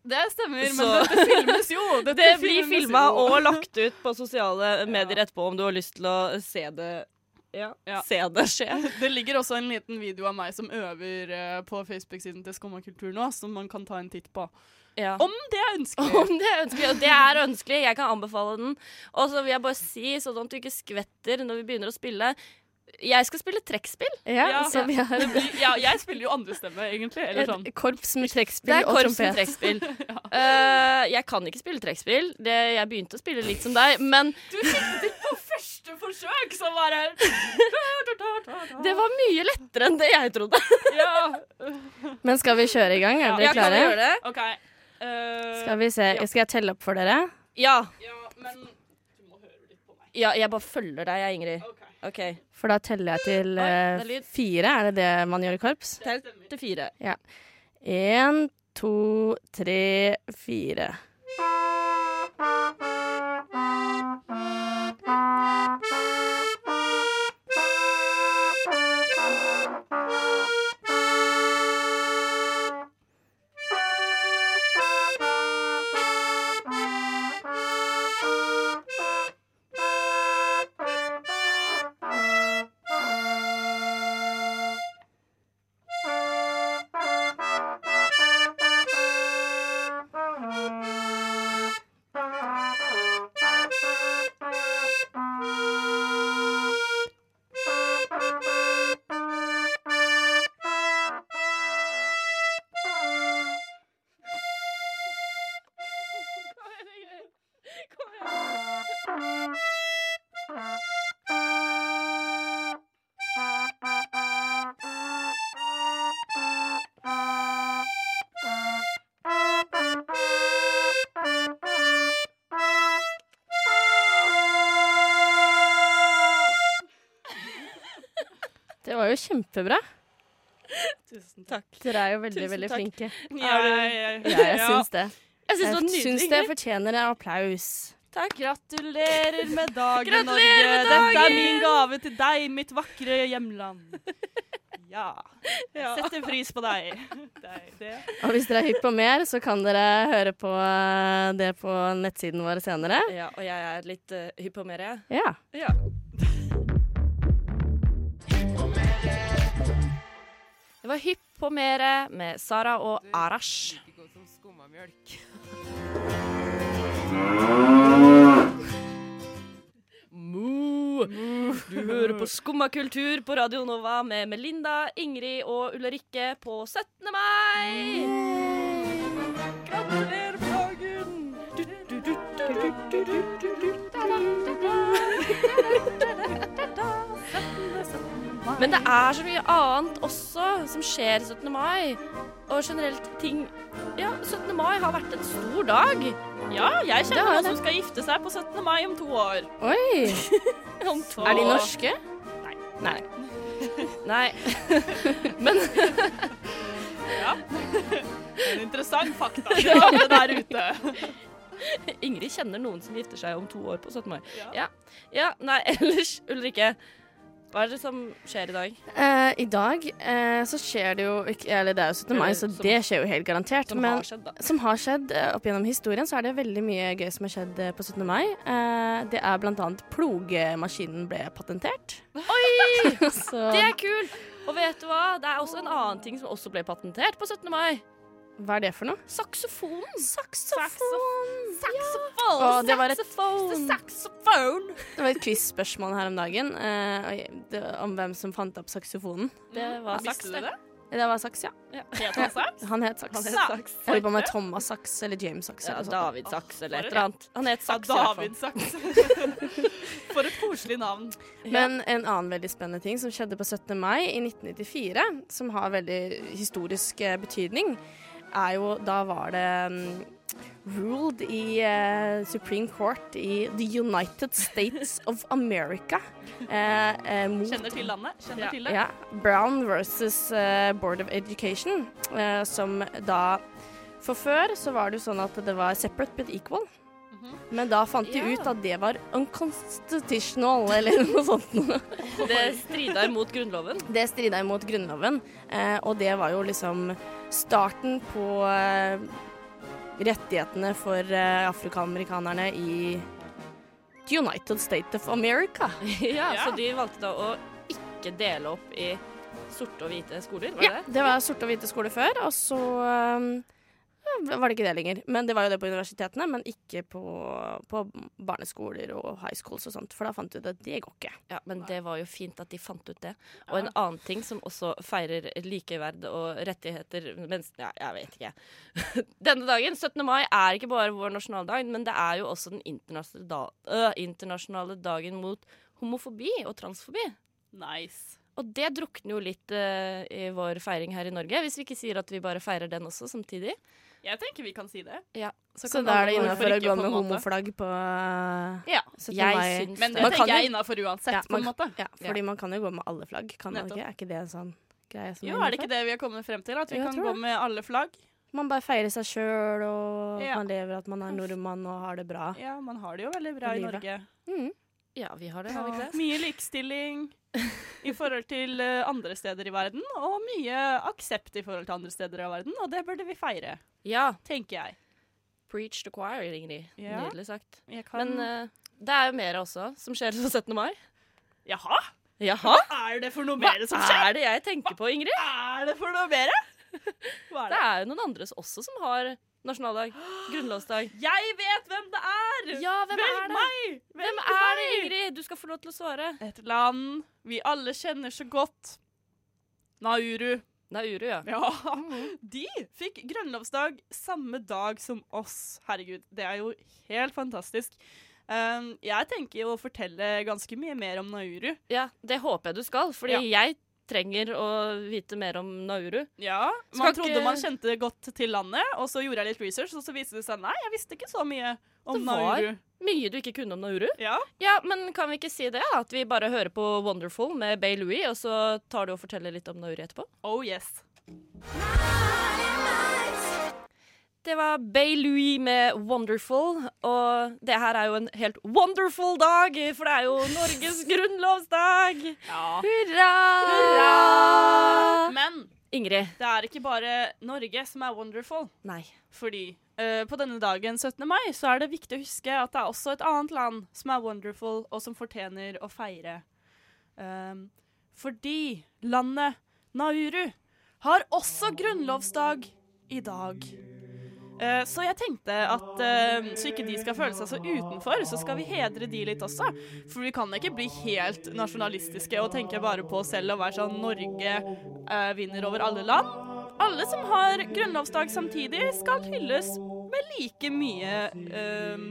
Speaker 4: Det stemmer, men
Speaker 3: Så-
Speaker 4: dette filmes jo. <laughs> Dette
Speaker 3: Det blir
Speaker 4: filmes
Speaker 3: filma
Speaker 4: jo.
Speaker 3: og lagt ut på <laughs> sosiale medier etterpå om du har lyst til å se det ja,
Speaker 4: Ja.
Speaker 3: se det skje.
Speaker 4: <laughs> Det ligger også en liten video av meg som øver eh, på Facebook-siden til Skumma kultur nå, som man kan ta en titt på.
Speaker 3: Ja.
Speaker 4: Om det er ønskelig!
Speaker 3: Om det er ønskelig, og det er ønskelig. Jeg kan anbefale den. Og så vil jeg bare si, sånn at du ikke skvetter når vi begynner å spille Jeg skal spille trekkspill.
Speaker 5: Ja,
Speaker 4: Ja.
Speaker 5: så vi har
Speaker 4: Det blir, <laughs> ja, jeg spiller jo andre stemme, egentlig. Eller sånn.
Speaker 5: et korps med
Speaker 3: Det
Speaker 5: trekkspill
Speaker 3: er
Speaker 5: og
Speaker 3: korps med
Speaker 5: trompet.
Speaker 3: trekkspill.
Speaker 5: <laughs>
Speaker 3: Eh, jeg kan ikke spille trekkspill. Det- Jeg begynte å spille litt som deg, men
Speaker 4: Du fikk det på første forsøk, så bare
Speaker 3: det var mye lettere enn det jeg trodde.
Speaker 4: Ja.
Speaker 5: Men skal vi kjøre i gang? Er
Speaker 3: Ja, kan
Speaker 5: dere
Speaker 3: vi
Speaker 5: klare?
Speaker 3: gjøre det?
Speaker 4: OK. Eh,
Speaker 5: Skal vi se. Skal jeg telle opp for dere?
Speaker 3: Ja.
Speaker 4: Ja, men du må høre litt på meg.
Speaker 3: ja. Jeg bare følger deg, jeg, Ingrid.
Speaker 4: OK.
Speaker 3: OK.
Speaker 5: For da teller jeg til
Speaker 3: Oi,
Speaker 5: eh,
Speaker 3: det er lyd.
Speaker 5: fire. Er det det man gjør i korps?
Speaker 3: Tell til fire.
Speaker 5: Én, to, tre, fire. Det var jo
Speaker 3: <laughs>
Speaker 5: kjempebra.
Speaker 4: Tusen
Speaker 3: Takk.
Speaker 5: Dere er jo veldig,
Speaker 3: Tusen
Speaker 5: veldig
Speaker 3: takk. <laughs>
Speaker 5: flinke.
Speaker 4: Jeg,
Speaker 5: Ja, jeg syns det.
Speaker 3: Jeg syns det var
Speaker 5: Jeg
Speaker 3: nydelig.
Speaker 5: syns det
Speaker 3: Ingrid.
Speaker 5: fortjener en applaus.
Speaker 3: Takk.
Speaker 4: Gratulerer med dagen,
Speaker 3: Gratulerer
Speaker 4: Norge!
Speaker 3: med
Speaker 4: Dette er
Speaker 3: dagen!
Speaker 4: min gave til deg, mitt vakre <laughs> hjemland. Ja.
Speaker 3: Ja.
Speaker 4: Setter pris på deg. deg det.
Speaker 5: Og hvis dere er hypp på mer, så kan dere høre på eh, det på nettsiden vår senere.
Speaker 3: Ja, og jeg er litt uh, hypp på mer, jeg.
Speaker 5: Ja.
Speaker 3: Ja. Det var Hypp på mere med Sara og Arash. Mo. Du hører på Skumma kultur på Radio Nova med Melinda, Ingrid og Ulrikke på 17. mai. Gratulerer med dagen! Du, du, du, du, du, du, du, du, du, da, da, da, da, da, da, da, da, 17. mai. Men det er så mye annet også som skjer 17. mai. Og generelt ting Ja, 17. mai har vært en stor dag.
Speaker 4: Ja, jeg
Speaker 5: Det
Speaker 4: kjenner
Speaker 5: har
Speaker 4: noen
Speaker 5: det.
Speaker 4: som skal gifte seg på 17. mai om to år.
Speaker 5: Oi!
Speaker 4: Om to
Speaker 5: Er de norske?
Speaker 3: Nei.
Speaker 4: <laughs>
Speaker 3: Nei. Men
Speaker 4: En interessant fakta til alle der ute.
Speaker 3: <laughs> Ingrid kjenner noen som gifter seg om to år på 17. mai.
Speaker 4: Ja.
Speaker 3: Ja. ja nei, <laughs> ellers, Ulrikke. Hva er det som skjer i dag?
Speaker 5: Eh, I dag eh, så skjer det jo ikke Eller det er jo 17. mai, så
Speaker 3: Som-
Speaker 5: det skjer jo helt garantert.
Speaker 3: Som
Speaker 5: Men
Speaker 3: har skjedd, da?
Speaker 5: som har skjedd eh, opp gjennom historien, så er det veldig mye gøy som har skjedd eh, på 17. mai. Eh, det er blant annet plogemaskinen ble patentert. Oi! <laughs> så
Speaker 3: Det er kult! Og vet du hva? Det er også en annen ting som også ble patentert på 17. mai.
Speaker 5: hva er det for noe?
Speaker 3: Saksofonen.
Speaker 4: Saksofon.
Speaker 3: Saksofon.
Speaker 5: Å, det var et-
Speaker 3: Saksofon.
Speaker 4: Saksofon.
Speaker 5: Det var et quiz-spørsmål her om dagen eh, og jeg- det, om hvem som fant opp saksofonen.
Speaker 3: Det var
Speaker 4: Visste
Speaker 3: saks,
Speaker 4: du
Speaker 3: det.
Speaker 4: det?
Speaker 5: Det var Saks, ja.
Speaker 4: Ja. Helt ansagt.
Speaker 5: Han het Saks.
Speaker 4: het Saks.
Speaker 5: Jeg lurer på altså. om det er Thomas Saks eller James Saks.
Speaker 3: Ja,
Speaker 5: eller noe sånt.
Speaker 3: David Saks eller et
Speaker 4: Åh,
Speaker 3: eller annet. Han het
Speaker 4: Ja,
Speaker 3: Saks. i hvert fall.
Speaker 4: David <laughs> Saks. For et koselig navn.
Speaker 5: Men en annen veldig spennende ting som skjedde på 17. mai i 1994, som har veldig historisk eh, betydning, er jo da var det mm, ruled i eh, Supreme Court i The United States of America eh, eh, mot
Speaker 4: Kjenner til landet. Kjenner til det.
Speaker 5: ja, Brown versus eh, Board of Education, eh, som da For før så var det jo sånn at det var separate but equal.
Speaker 4: Mhm.
Speaker 5: Men da fant de
Speaker 3: Ja.
Speaker 5: ut at det var unconstitutional, eller noe sånt. noe.
Speaker 3: Det strida imot Grunnloven.
Speaker 5: Det strida imot Grunnloven, eh, og det var jo liksom starten på eh, rettighetene for eh, afroamerikanerne i United States of America.
Speaker 3: Ja,
Speaker 4: <laughs> Ja.
Speaker 3: Så de valgte da å ikke dele opp i sorte og hvite skoler, var
Speaker 5: Ja,
Speaker 3: det det?
Speaker 5: <laughs> det var sorte og hvite skole før, og så um, ja, var det ikke det lenger. Men det var jo det på universitetene, men ikke på, på barneskoler og high schools og sånt, for da fant vi ut at det går ikke.
Speaker 3: Ja, Men det var jo fint at de fant ut det. Og en annen ting som også feirer likeverd og rettigheter mens, ja, Jeg vet ikke. <laughs> Denne dagen, 17. mai, er ikke bare vår nasjonaldag, men det er jo også den internasjonale, da, øh, internasjonale dagen mot homofobi og transfobi.
Speaker 4: Nice.
Speaker 3: Og det drukner jo litt eh, i vår feiring her i Norge, hvis vi ikke sier at vi bare feirer den også samtidig.
Speaker 4: Jeg tenker vi kan si det.
Speaker 3: Ja, så
Speaker 5: Så
Speaker 3: kan
Speaker 5: da
Speaker 3: alle
Speaker 5: er det
Speaker 3: gå-
Speaker 4: hvorfor ikke, på
Speaker 5: innafor å gå
Speaker 4: en
Speaker 5: med
Speaker 4: måte?
Speaker 5: homoflagg på uh,
Speaker 4: Ja.
Speaker 5: 17.
Speaker 3: Jeg
Speaker 5: mai.
Speaker 3: syns
Speaker 4: Men det
Speaker 5: Man kan
Speaker 4: tenker jeg
Speaker 5: jo-
Speaker 4: innafor uansett,
Speaker 5: Ja,
Speaker 4: på
Speaker 5: man-
Speaker 4: en måte.
Speaker 5: Ja, fordi man kan jo gå med alle flagg, kan man
Speaker 4: Nettopp.
Speaker 5: ikke? Er ikke det en sånn greie som
Speaker 4: Jo, er det ikke det vi har kommet frem til? At vi
Speaker 5: Jo, jeg
Speaker 4: kan
Speaker 5: tror
Speaker 4: gå
Speaker 5: det.
Speaker 4: med alle flagg?
Speaker 5: Man bare feirer seg sjøl, og
Speaker 4: Ja.
Speaker 5: man lever at man er nordmann og har det bra.
Speaker 4: Ja, man har det jo veldig bra
Speaker 5: I
Speaker 4: i
Speaker 5: livet.
Speaker 4: Norge.
Speaker 5: Mm.
Speaker 3: Ja, vi har det, har vi ikke det?
Speaker 4: Mye likestilling i forhold til eh, andre steder i verden, og mye aksept i forhold til andre steder i verden, og det burde vi feire,
Speaker 3: Ja.
Speaker 4: tenker jeg.
Speaker 3: Preach the choir, Ingrid.
Speaker 4: Ja.
Speaker 3: Nydelig sagt.
Speaker 4: jeg kan...
Speaker 3: Men eh, det er jo mer også som skjer på 17. mai.
Speaker 4: Jaha?
Speaker 3: Jaha?
Speaker 4: Er det for noe
Speaker 3: Hva
Speaker 4: mer som skjer?
Speaker 3: er det jeg tenker på, Ingrid?
Speaker 4: Er det for noe mer?
Speaker 3: <laughs>
Speaker 4: Hva
Speaker 3: Det
Speaker 4: er det?
Speaker 3: er jo noen andre også som har nasjonaldag. <gasps> Grunnlovsdag.
Speaker 4: Jeg vet hvem det er!
Speaker 3: Ja, hvem
Speaker 4: Velg
Speaker 3: er det?
Speaker 4: meg! Velg
Speaker 3: Hvem er det,
Speaker 4: meg!
Speaker 3: Ingrid? Du skal få lov til å svare.
Speaker 4: Et land vi alle kjenner så godt. Nauru.
Speaker 3: Nauru, ja.
Speaker 4: Ja. <laughs> De fikk grunnlovsdag samme dag som oss. Herregud, det er jo helt fantastisk. Um, jeg tenker jo å fortelle ganske mye mer om Nauru.
Speaker 3: ja. Det håper jeg du skal, fordi jeg trenger å vite mer om Nauru.
Speaker 4: Ja,
Speaker 3: Skal
Speaker 4: Man
Speaker 3: ikke-
Speaker 4: trodde man kjente godt til landet, og så gjorde jeg litt research, og så viste det seg nei, jeg visste ikke så mye om
Speaker 3: Det var-
Speaker 4: Nauru.
Speaker 3: Mye du ikke kunne om Nauru.
Speaker 4: Ja,
Speaker 3: Ja, men kan vi ikke si det? At vi bare hører på Wonderful med Bay Louie, og så tar du og forteller litt om Nauri etterpå?
Speaker 4: Oh yes.
Speaker 3: Det var Bay Louie med Wonderful, og det her er jo en helt wonderful dag, for det er jo <laughs> Norges grunnlovsdag!
Speaker 4: Ja.
Speaker 3: Hurra!
Speaker 4: Men
Speaker 3: Ingrid.
Speaker 4: det er ikke bare Norge som er wonderful.
Speaker 3: Nei.
Speaker 4: Fordi eh, på denne dagen, 17. mai, så er det viktig å huske at det er også et annet land som er wonderful, og som fortjener å feire. Ehm, fordi landet Nauru har også grunnlovsdag i dag. Eh, så jeg tenkte at eh, så ikke de skal føle seg så utenfor, så skal vi hedre de litt også. For vi kan ikke bli helt nasjonalistiske og tenke bare på oss selv og være sånn Norge eh, vinner over alle land. Alle som har grunnlovsdag samtidig, skal hylles med like mye ehm,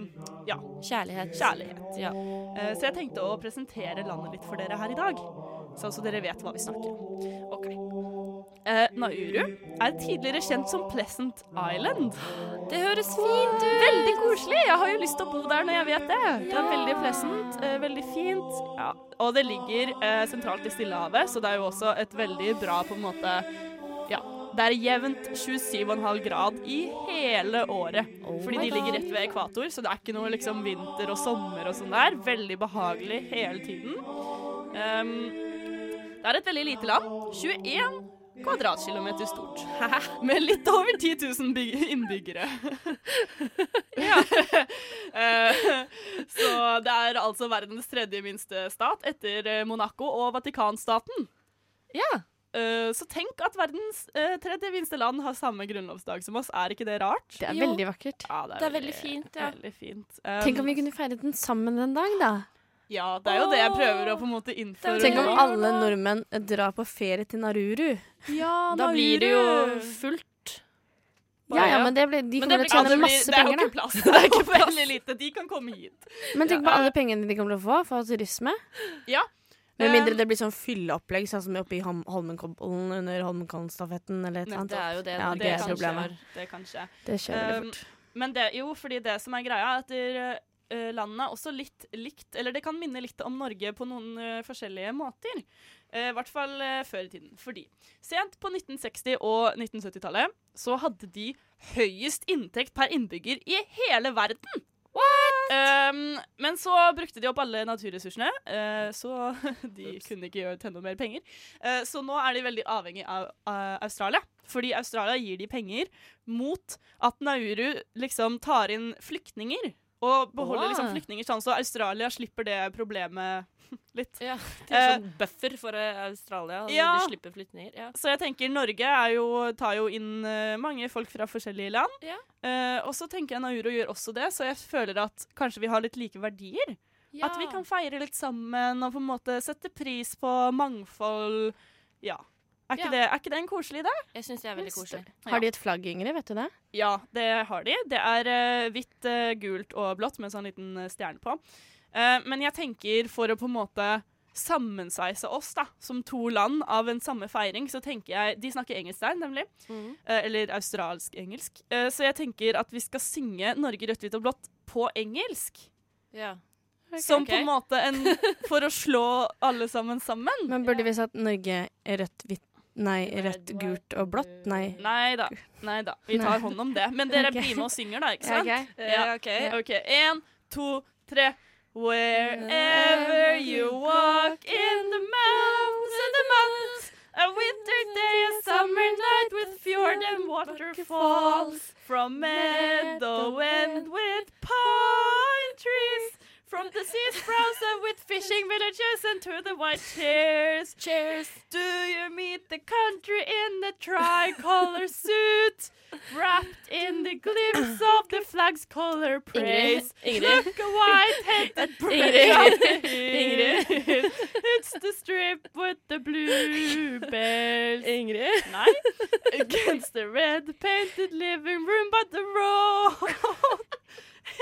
Speaker 4: ja,
Speaker 3: Kjærlighet.
Speaker 4: kjærlighet.
Speaker 3: Ja.
Speaker 4: Eh, så jeg tenkte å presentere landet litt for dere her i dag, sånn så dere vet hva vi snakker om. Ok. Eh, Nauru er tidligere kjent som Pleasant Island.
Speaker 3: Det høres fint ut!
Speaker 4: Veldig koselig! Jeg har jo lyst til å bo der når jeg vet det. Det er veldig pleasant, eh, veldig fint. Ja. Og det ligger eh, sentralt i Stillehavet, så det er jo også et veldig bra på en måte Ja. Det er jevnt 27,5 grad i hele året. fordi de ligger rett ved ekvator, så det er ikke noe liksom vinter og sommer og sånn der. Veldig behagelig hele tiden. Ehm, det er et veldig lite land. 21 kvadratkilometer stort. <laughs> Med litt over 10 000 byg- innbyggere. <laughs> Eh, Så det er altså verdens tredje minste stat etter eh, Monaco og Vatikanstaten.
Speaker 3: Ja.
Speaker 4: Eh, Så tenk at verdens eh, tredje minste land har samme grunnlovsdag som oss. Er ikke det rart?
Speaker 5: Det er
Speaker 3: Jo.
Speaker 5: veldig vakkert.
Speaker 4: Ja,
Speaker 3: Det er veldig fint, ja.
Speaker 4: Veldig fint. Um,
Speaker 5: Tenk om vi kunne feiret den sammen en dag, da.
Speaker 4: Ja, det er jo det jeg prøver å på en måte innføre.
Speaker 5: Tenk om
Speaker 4: nå.
Speaker 5: alle nordmenn drar på ferie til Naruru.
Speaker 3: Da blir det jo fullt.
Speaker 5: Ja, ja, men det blir, de
Speaker 4: Men
Speaker 5: kommer
Speaker 4: det,
Speaker 5: til å
Speaker 4: blir, ja,
Speaker 5: tjene
Speaker 4: det, blir,
Speaker 5: masse
Speaker 4: det er jo
Speaker 5: penger,
Speaker 4: ikke
Speaker 5: <laughs> da.
Speaker 4: plass. <laughs> Det er ikke veldig lite. De kan komme hit.
Speaker 5: Men tenk på alle pengene de kommer til å få fra turisme.
Speaker 4: Ja.
Speaker 5: Med
Speaker 4: Eh,
Speaker 5: mindre det blir sånn fylleopplegg, sånn som oppe i Ham- Holmenkollen under Holmenkollen-stafetten eller et eller
Speaker 4: Nettopp.
Speaker 5: annet.
Speaker 3: Det er jo det.
Speaker 5: Ja,
Speaker 3: det
Speaker 5: det er
Speaker 4: kan
Speaker 3: kanskje
Speaker 5: problemet.
Speaker 3: var.
Speaker 4: skje. Det kan skje.
Speaker 5: Det skjer veldig
Speaker 4: Um,
Speaker 5: fort.
Speaker 4: Men det, jo, fordi det som er greia, er at der, eh, landet er også litt likt Eller det kan minne litt om Norge på noen eh, forskjellige måter. Eh, I hvert fall eh, før i tiden. Fordi sent på 1960- og 1970-tallet så hadde de høyest inntekt per innbygger i hele verden. Um, men så brukte de opp alle naturressursene, eh, så <laughs> de kunne ikke gjøre tjene noe mer penger. Eh, så nå er de veldig avhengig av av Australia. Fordi Australia gir de penger mot at Nauru liksom tar inn flyktninger. Og beholder
Speaker 3: Wow.
Speaker 4: liksom flyktninger sånn, så Australia slipper det problemet <laughs> litt.
Speaker 3: Ja, det er
Speaker 4: Eh,
Speaker 3: sånn buffer for eh, Australia, så
Speaker 4: ja.
Speaker 3: de slipper flyktninger. Ja.
Speaker 4: Så jeg tenker Norge er jo, tar jo inn eh, mange folk fra forskjellige land.
Speaker 3: Ja.
Speaker 4: Eh, og så tenker jeg Nauru gjør også det, så jeg føler at kanskje vi har litt like verdier. At vi kan feire litt sammen og på en måte sette pris på mangfold. Ja. Er ikke,
Speaker 3: Ja.
Speaker 4: Det, er ikke det en koselig idé?
Speaker 3: Jeg syns det er veldig koselig.
Speaker 5: Har de et flagg, Ingrid? Vet du det?
Speaker 4: Ja, det har de. Det er eh, hvitt, eh, gult og blått med sånn liten eh, stjerne på. Eh, men jeg tenker for å på en måte sammensveise oss da, som to land av en samme feiring, så tenker jeg De snakker engelsk der, nemlig.
Speaker 3: Mm.
Speaker 4: Eh, eller australsk-engelsk. Eh, så jeg tenker at vi skal synge 'Norge rødt, hvitt og blått' på engelsk.
Speaker 3: Ja.
Speaker 4: som
Speaker 3: ok.
Speaker 4: på en måte
Speaker 3: <laughs>
Speaker 4: en For å slå alle sammen sammen.
Speaker 5: Men burde vi sagt Norge rødt, hvitt Nei, rødt, gult og blått? Nei.
Speaker 4: Nei da. Nei da. Vi tar hånd om det. Men <laughs> dere
Speaker 5: Ok.
Speaker 4: blir med og synger, da, ikke
Speaker 5: Ja,
Speaker 4: sant?
Speaker 5: ok.
Speaker 4: Ja,
Speaker 3: OK.
Speaker 4: OK. Én, to, tre. Wherever you walk in the mountains and the mountains A winter day, a summer night with fjord and waterfalls From meadow and with pine trees From the sea sprouts and with fishing villages and to the <laughs> white chairs
Speaker 3: Cheers.
Speaker 4: Do you meet the country in the
Speaker 3: <laughs>
Speaker 4: tricolor suit? Wrapped in the glimpse of the flag's color praise.
Speaker 3: Ingrid.
Speaker 4: Look, a
Speaker 3: <laughs>
Speaker 4: white-headed <laughs>
Speaker 3: Ingrid.
Speaker 4: Ingrid. <laughs> It's the strip with the bluebells.
Speaker 3: Ingrid. <laughs>
Speaker 4: Nei. Against the red painted living room, but the road. <laughs>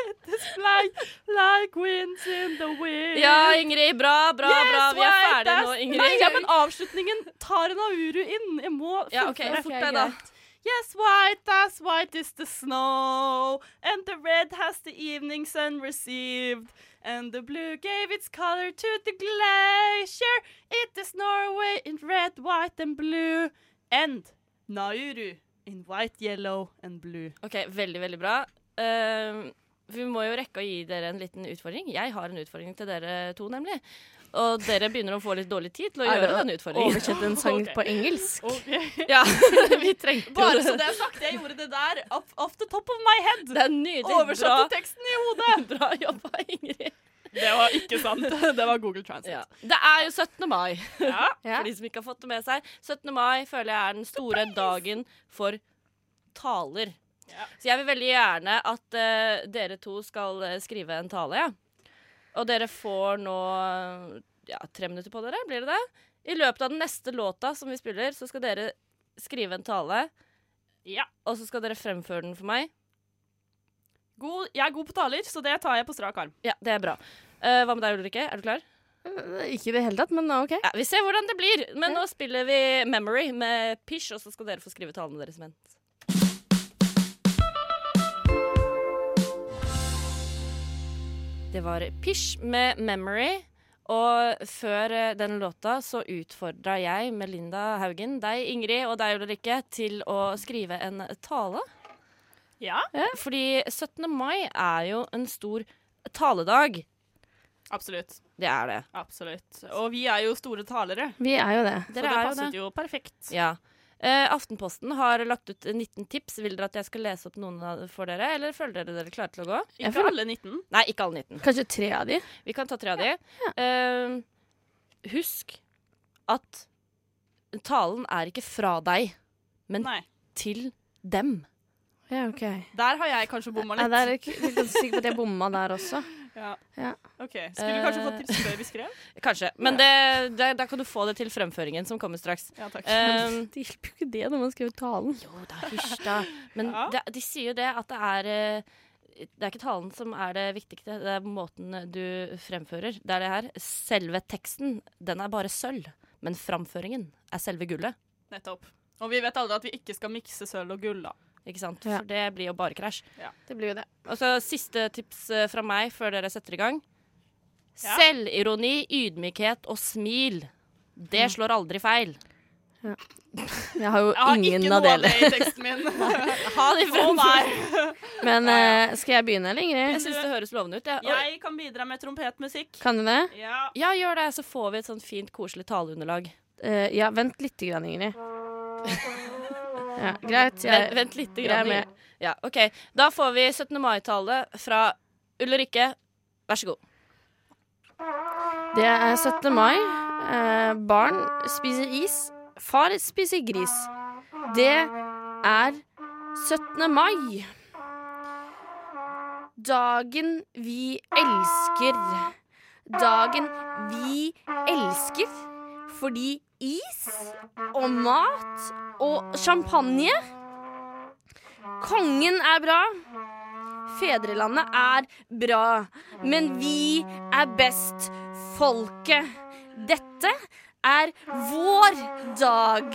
Speaker 4: It is black like winds in the wind.
Speaker 3: Ja, Ingrid. Bra, bra, bra. Vi er
Speaker 4: White
Speaker 3: ferdige
Speaker 4: ass-
Speaker 3: nå, Ingrid.
Speaker 4: Nei, ja, men avslutningen tar Nauru inn. Jeg må
Speaker 3: Ja, OK.
Speaker 4: fullføre.
Speaker 3: Fort deg, da.
Speaker 4: Yes, white as white is the snow, and the red has the evening sun received, and the blue gave its color to the glacier. It is Norway in red, white and blue, and Nauru in white, yellow and blue.
Speaker 3: OK, veldig, veldig bra. Ehm, vi må jo rekke å gi dere en liten utfordring. Jeg har en utfordring til dere to, nemlig. Og dere begynner å få litt dårlig tid til å
Speaker 5: Er det
Speaker 3: gjøre den utfordringen.
Speaker 5: <laughs> Oversett en
Speaker 3: <laughs>
Speaker 5: sang
Speaker 4: Ok.
Speaker 5: på engelsk.
Speaker 3: Ja, <laughs> vi trengte jo
Speaker 4: <laughs> Bare
Speaker 3: det.
Speaker 4: så det er <laughs> sagt, jeg gjorde det der off, off the top of my head.
Speaker 3: Det er nydelig.
Speaker 4: Oversatte teksten i hodet.
Speaker 3: Bra, bra jobba, Ingrid.
Speaker 4: Det var ikke sant. Det var Google Translate.
Speaker 3: Ja. Det er jo 17. mai, <laughs>
Speaker 4: Ja.
Speaker 5: Ja.
Speaker 3: for de som ikke har fått det med seg. 17. mai føler jeg er den store dagen for taler.
Speaker 4: Ja.
Speaker 3: Så jeg vil veldig gjerne at eh, dere to skal eh, skrive en tale, ja. Og dere får nå eh, ja, tre minutter på dere, blir det det? I løpet av den neste låta som vi spiller, så skal dere skrive en tale,
Speaker 4: Ja.
Speaker 3: og så skal dere fremføre den for meg.
Speaker 4: God, jeg er god på taler, så det tar jeg på strak arm.
Speaker 3: Ja, det er bra. Eh, hva med deg, Ulrikke? Er du klar?
Speaker 5: Ikke i det hele tatt, men OK.
Speaker 3: Ja, vi ser hvordan det blir. Men nå spiller vi Memory med Pish, og så skal dere få skrive talene deres imens. Det var Pish med Memory. Og før eh, den låta så utfordra jeg Melinda Haugen, deg Ingrid og deg Ulrikke til å skrive en tale.
Speaker 4: Ja,
Speaker 3: Fordi 17. mai er jo en stor taledag.
Speaker 4: absolutt.
Speaker 3: Det er det.
Speaker 4: Absolutt. Og vi er jo store talere,
Speaker 5: Vi er jo det.
Speaker 4: så det passet jo perfekt.
Speaker 3: Ja. Eh, Aftenposten har lagt ut 19 tips. Vil dere at jeg skal lese opp noen av- for dere? Eller føler dere dere klare til å gå?
Speaker 4: Ikke
Speaker 5: føler-
Speaker 4: alle 19.
Speaker 3: Nei, ikke alle 19.
Speaker 5: Kanskje tre av de.
Speaker 3: Vi kan ta tre av de. Eh, husk at talen er ikke fra deg, men
Speaker 4: Nei.
Speaker 3: til dem.
Speaker 5: Ja, OK.
Speaker 4: Der har jeg kanskje bomma
Speaker 5: Ja,
Speaker 4: litt.
Speaker 5: der, er jeg ikke- jeg er ganske sikker på at jeg bomma der også.
Speaker 4: Ja.
Speaker 5: Ja.
Speaker 4: OK. Skulle du kanskje
Speaker 3: Eh.
Speaker 4: fått tips før vi skrev?
Speaker 3: Kanskje. Men det, det, da kan du få det til fremføringen som kommer <laughs> straks.
Speaker 4: Ja,
Speaker 5: <laughs>
Speaker 4: takk.
Speaker 3: Um,
Speaker 5: Det hjelper jo ikke det når man skriver talen.
Speaker 3: jo da, hysj da. Men
Speaker 4: Ja.
Speaker 3: det, de sier jo det at det er eh, Det er ikke talen som er det viktigste, det er måten du fremfører. Det er det her. Selve teksten, den er bare sølv. Men framføringen er selve gullet.
Speaker 4: Nettopp. Og vi vet alle at vi ikke skal mikse sølv og gull, da.
Speaker 3: Ikke sant?
Speaker 5: Ja.
Speaker 3: For det blir jo bare krasj.
Speaker 5: <laughs> Det blir jo det.
Speaker 3: Og så siste tips eh, fra meg før dere setter i gang.
Speaker 4: Ja.
Speaker 3: Selvironi, ydmykhet og smil. Det
Speaker 4: Mm.
Speaker 3: slår aldri feil.
Speaker 5: Jeg har jo
Speaker 4: Jeg har ikke
Speaker 5: ingen
Speaker 4: noe
Speaker 5: av
Speaker 4: av det
Speaker 5: delene. Sånn
Speaker 4: i teksten
Speaker 5: <laughs>
Speaker 4: min.
Speaker 3: Ha det
Speaker 4: Å nei.
Speaker 5: Men eh, skal jeg begynne,
Speaker 3: Jeg
Speaker 5: eller, Ingrid?
Speaker 3: syns det høres lovende ut. Ja.
Speaker 4: Jeg kan bidra med trompetmusikk.
Speaker 5: Kan du det?
Speaker 4: Ja.
Speaker 3: ja, gjør det, så får vi et sånn fint, koselig taleunderlag.
Speaker 5: Eh, ja, vent litt, grann,
Speaker 4: <laughs>
Speaker 5: Ingrid. Ja, greit. Jeg,
Speaker 3: Vent, vent litt.
Speaker 5: jeg er
Speaker 3: Grann.
Speaker 5: med.
Speaker 3: Ja, ok. Da får vi 17. mai-tale fra Ulrikke. Vær så god.
Speaker 5: Det er 17. mai. Eh, barn spiser is. Far spiser gris. Det er 17. mai. Dagen vi elsker. Dagen vi elsker fordi is og mat og champagne Kongen er bra. Fedrelandet er bra, men vi er best. Folket. Dette er vår dag.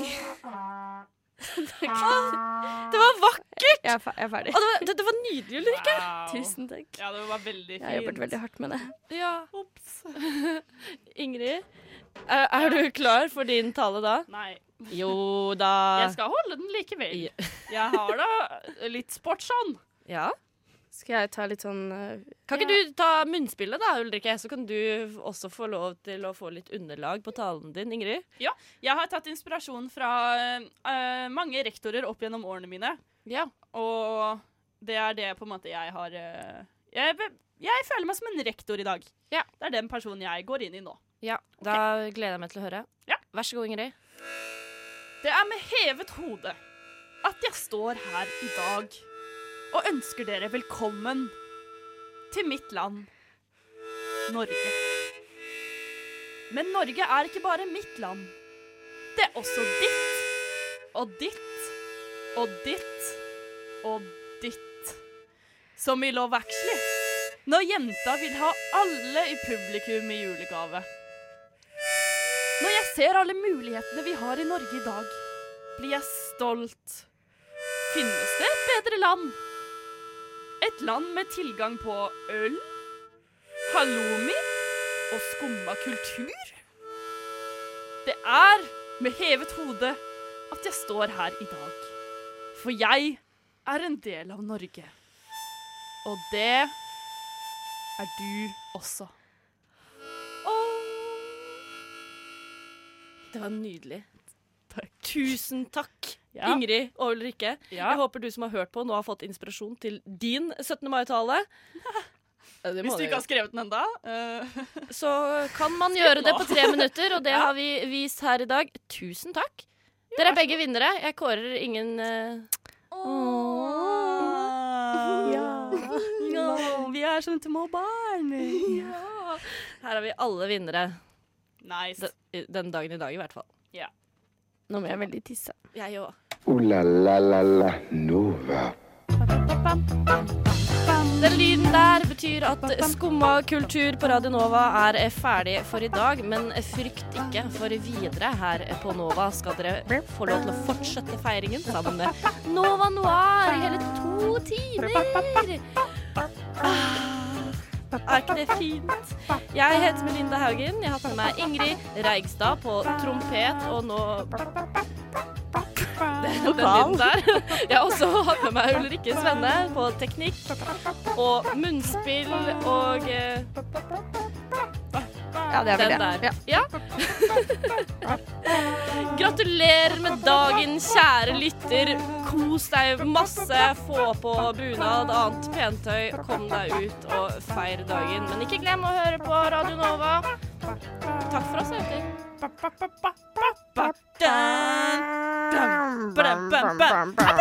Speaker 5: <laughs>
Speaker 3: Det var vakkert!
Speaker 5: Jeg er, fe- jeg er ferdig.
Speaker 3: Og det, var, det, det var nydelig, Ulrikke.
Speaker 4: Wow.
Speaker 5: Tusen takk.
Speaker 4: Ja, det var veldig
Speaker 5: Jeg har jobbet
Speaker 4: fint.
Speaker 5: veldig hardt med det.
Speaker 3: Ja. <laughs> Ingrid, er, er du klar for din tale da?
Speaker 4: Nei.
Speaker 3: Jo da.
Speaker 4: Jeg skal holde den likevel.
Speaker 3: Ja.
Speaker 4: Jeg har da litt sånn. sportsånd.
Speaker 3: Ja.
Speaker 5: Skal jeg ta litt sånn
Speaker 3: Kan ikke du ta munnspillet da, Ulrikke? Så kan du også få lov til å få litt underlag på talen din, Ingrid.
Speaker 4: Jeg har tatt inspirasjon fra eh, mange rektorer opp gjennom årene mine.
Speaker 3: Ja.
Speaker 4: Og det er det på en måte jeg har eh, jeg, be- jeg føler meg som en rektor i dag.
Speaker 3: Ja.
Speaker 4: Det er den personen jeg går inn i nå.
Speaker 3: Da gleder jeg meg til å høre.
Speaker 4: Ja.
Speaker 3: Vær så god, Ingrid.
Speaker 4: Det er med hevet hode at jeg står her i dag og ønsker dere velkommen til mitt land, Norge. Men Norge er ikke bare mitt land. Det er også ditt og ditt og ditt og ditt. Som i Love Actually, når jenta vil ha alle i publikum i julegave. Når jeg ser alle mulighetene vi har i Norge i dag, blir jeg stolt. Finnes det et bedre land? Et land med tilgang på øl, halloumi og skumma kultur? Det er med hevet hode at jeg står her i dag. For jeg er en del av Norge. Og det er du også.
Speaker 3: Det var nydelig.
Speaker 4: Takk.
Speaker 3: Tusen takk,
Speaker 4: Ja.
Speaker 3: Ingrid og Ulrikke.
Speaker 4: Ja.
Speaker 3: Jeg håper du som har hørt på, nå har fått inspirasjon til din 17. mai-tale. Ja, det må
Speaker 4: Hvis du
Speaker 3: dere
Speaker 4: ikke har
Speaker 3: gjøre.
Speaker 4: skrevet den enda eh,
Speaker 3: Så kan man gjøre det på tre minutter, og det
Speaker 4: Ja.
Speaker 3: har vi vist her i dag. Tusen takk. Dere er begge vinnere. Jeg kårer ingen eh, <laughs>
Speaker 4: vi er som små barn.
Speaker 3: Her har vi alle vinnere
Speaker 4: Nice.
Speaker 3: den, den dagen i dag, i hvert fall.
Speaker 5: Nå må jeg veldig tisse.
Speaker 3: Jeg òg.
Speaker 2: Ooh la la la la Nova.
Speaker 3: Den lyden der betyr at Skumma kultur på Radio Nova er ferdig for i dag, men frykt ikke, for videre her på Nova skal dere få lov til å fortsette feiringen sammen med Nova Noir i hele to timer. Ah, Er ikke det fint? Jeg heter Melinda Haugen. Jeg har hatt med meg Ingrid Reigstad på trompet og nå <laughs> Den lyden der. Jeg har også hatt med meg Ulrikke Svenne på teknikk og munnspill og eh,
Speaker 5: Ja, det er vel
Speaker 3: den
Speaker 5: det.
Speaker 3: der.
Speaker 5: Ja.
Speaker 3: Ja. <laughs> Gratulerer med dagen, kjære lytter. Kos deg masse. Få på bunad, annet pentøy. Kom deg ut og feir dagen. Men ikke glem å høre på Radio Nova. Takk for oss, jenter.
Speaker 4: Ba-ba-ba-ba-ba-ba-dun. Dun, ba-dun, ba-dun.